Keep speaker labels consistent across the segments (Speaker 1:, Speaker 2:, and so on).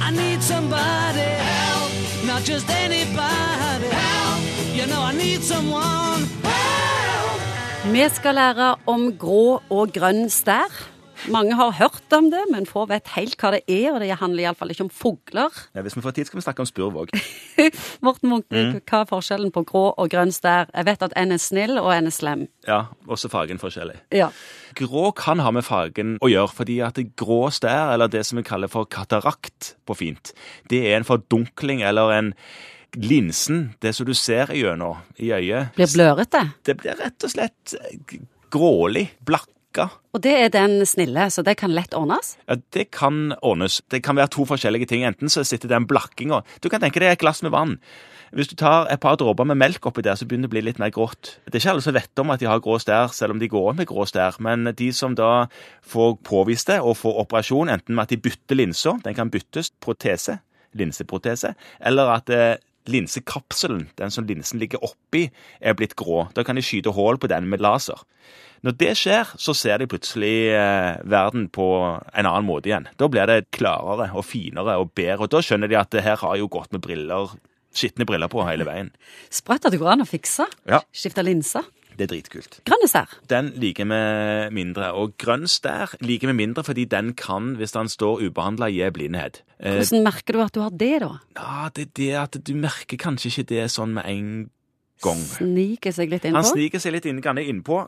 Speaker 1: I need somebody help, not just anybody help. You know I need someone help.
Speaker 2: Vi skal lære om grå og grønn stær. Mange har hørt om det, men få vet helt hva det er, og det handler iallfall ikke om fugler.
Speaker 3: Ja, hvis vi får tid, skal vi snakke om spurv òg.
Speaker 2: Morten
Speaker 3: Mm.
Speaker 2: Munkvik, hva er forskjellen på grå og grønn stær? Jeg vet at en er snill, og en er slem.
Speaker 3: Ja, også fargen forskjellig.
Speaker 2: Ja.
Speaker 3: Grå kan ha med fargen å gjøre, fordi at det grå stær, eller det som vi kaller for katarakt på fint, det er en fordunkling eller en linsen, det som du ser igjennom i øyet.
Speaker 2: Blir blørete.
Speaker 3: Det blir rett og slett grålig, blakka.
Speaker 2: Og det er den snille, så det kan lett ordnes.
Speaker 3: Ja, det kan ordnes. Det kan være to forskjellige ting. Enten så sitter den blakkinga Du kan tenke deg et glass med vann. Hvis du tar et par dråper med melk oppi der, så begynner det å bli litt mer grått. Det er ikke alle som vet om at de har grå stær, selv om de går med grå stær. Men de som da får påvist det og får operasjon, enten med at de bytter linsa, den kan byttes, protese, linseprotese, eller at eh, linsekapselen, den som linsen ligger oppi, er blitt grå. Da kan de skyte hull på den med laser. Når det skjer, så ser de plutselig eh, verden på en annen måte igjen. Da blir det klarere og finere og bedre, og da skjønner de at det her har jo gått med briller, skitne briller på hele veien.
Speaker 2: Sprøtt at det går an å fikse.
Speaker 3: Ja.
Speaker 2: Skifte linser.
Speaker 3: Det er dritkult.
Speaker 2: Grønne stær.
Speaker 3: Den liker vi mindre, og grønn stær liker vi mindre fordi den kan, hvis den står ubehandla, gi blindhet. Eh,
Speaker 2: Hvordan merker du at du har det, da?
Speaker 3: ja, det er det at du merker kanskje ikke det sånn med en gang.
Speaker 2: Sniker seg litt
Speaker 3: Han
Speaker 2: innpå.
Speaker 3: sniker seg litt inn, grann innpå.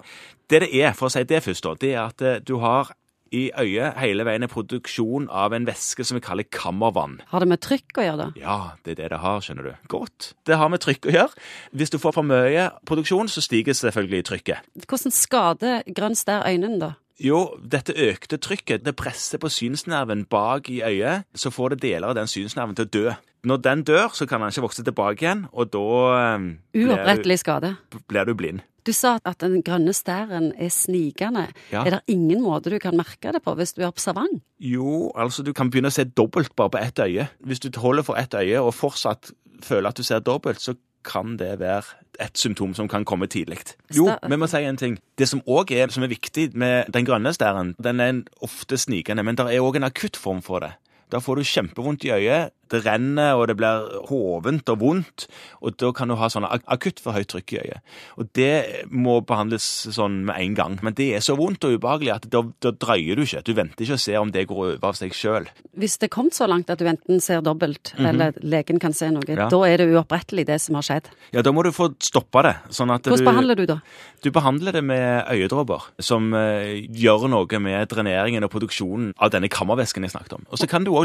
Speaker 3: Det det er, for å si det først, da, det er at eh, du har i øyet hele veien en produksjon av en væske som vi kaller kammervann.
Speaker 2: Har det med trykk å gjøre, da?
Speaker 3: Ja, det er det det har, skjønner du. Godt. Det har med trykk å gjøre. Hvis du får for mye produksjon, så stiger selvfølgelig trykket.
Speaker 2: Hvordan skader grønn stær øynene, da?
Speaker 3: Jo, dette økte trykket det presser på synsnerven bak i øyet, så får det deler av den synsnerven til å dø. Når den dør, så kan den ikke vokse tilbake igjen, og da eh, blir du,
Speaker 2: Uopprettelig skade.
Speaker 3: blir du blind.
Speaker 2: Du sa at den grønne stæren er snikende.
Speaker 3: Ja.
Speaker 2: Er det ingen måte du kan merke det på hvis du er observant?
Speaker 3: Jo, altså du kan begynne å se dobbelt bare på ett øye. Hvis du holder for ett øye og fortsatt føler at du ser dobbelt, så kan det være et symptom som kan komme tidlig. Jo, vi må si en ting. Det som òg er, som er viktig med den grønne stæren, den er en- ofte snikende, men det er òg en akutt form for det. Da får du kjempevondt i øyet, det renner og det blir hovent og vondt, og da kan du ha sånn ak- akutt for høyt trykk i øyet. Og det må behandles sånn med en gang, men det er så vondt og ubehagelig at da, da drøyer du ikke. Du venter ikke og ser om det går over av seg sjøl.
Speaker 2: Hvis det er kommet så langt at du enten ser dobbelt, eller legen kan se noe,
Speaker 3: Mhm. Ja.
Speaker 2: da er det uopprettelig det som har skjedd.
Speaker 3: Ja, da må du få stoppa det. Sånn at
Speaker 2: Hvordan
Speaker 3: du,
Speaker 2: behandler du da?
Speaker 3: Du behandler det med øyedråper, som eh, gjør noe med dreneringen og produksjonen av denne kammervæsken jeg snakket om. Og så kan du òg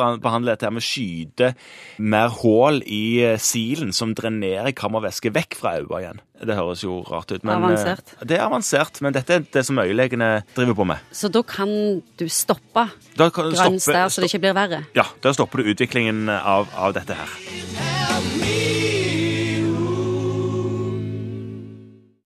Speaker 3: laserbehandle dette her med å skyte mer hull i eh, silen, som drenerer kammervæske vekk fra øyet igjen. Det høres jo rart ut, men eh,
Speaker 2: Avansert.
Speaker 3: Det er avansert, men dette er det som øyelegene driver på med.
Speaker 2: Så da kan du stoppe
Speaker 3: Da kan du
Speaker 2: grønn
Speaker 3: stoppe-
Speaker 2: stær så det ikke blir verre?
Speaker 3: Ja, da stopper du utviklingen av, av dette her.
Speaker 1: Help.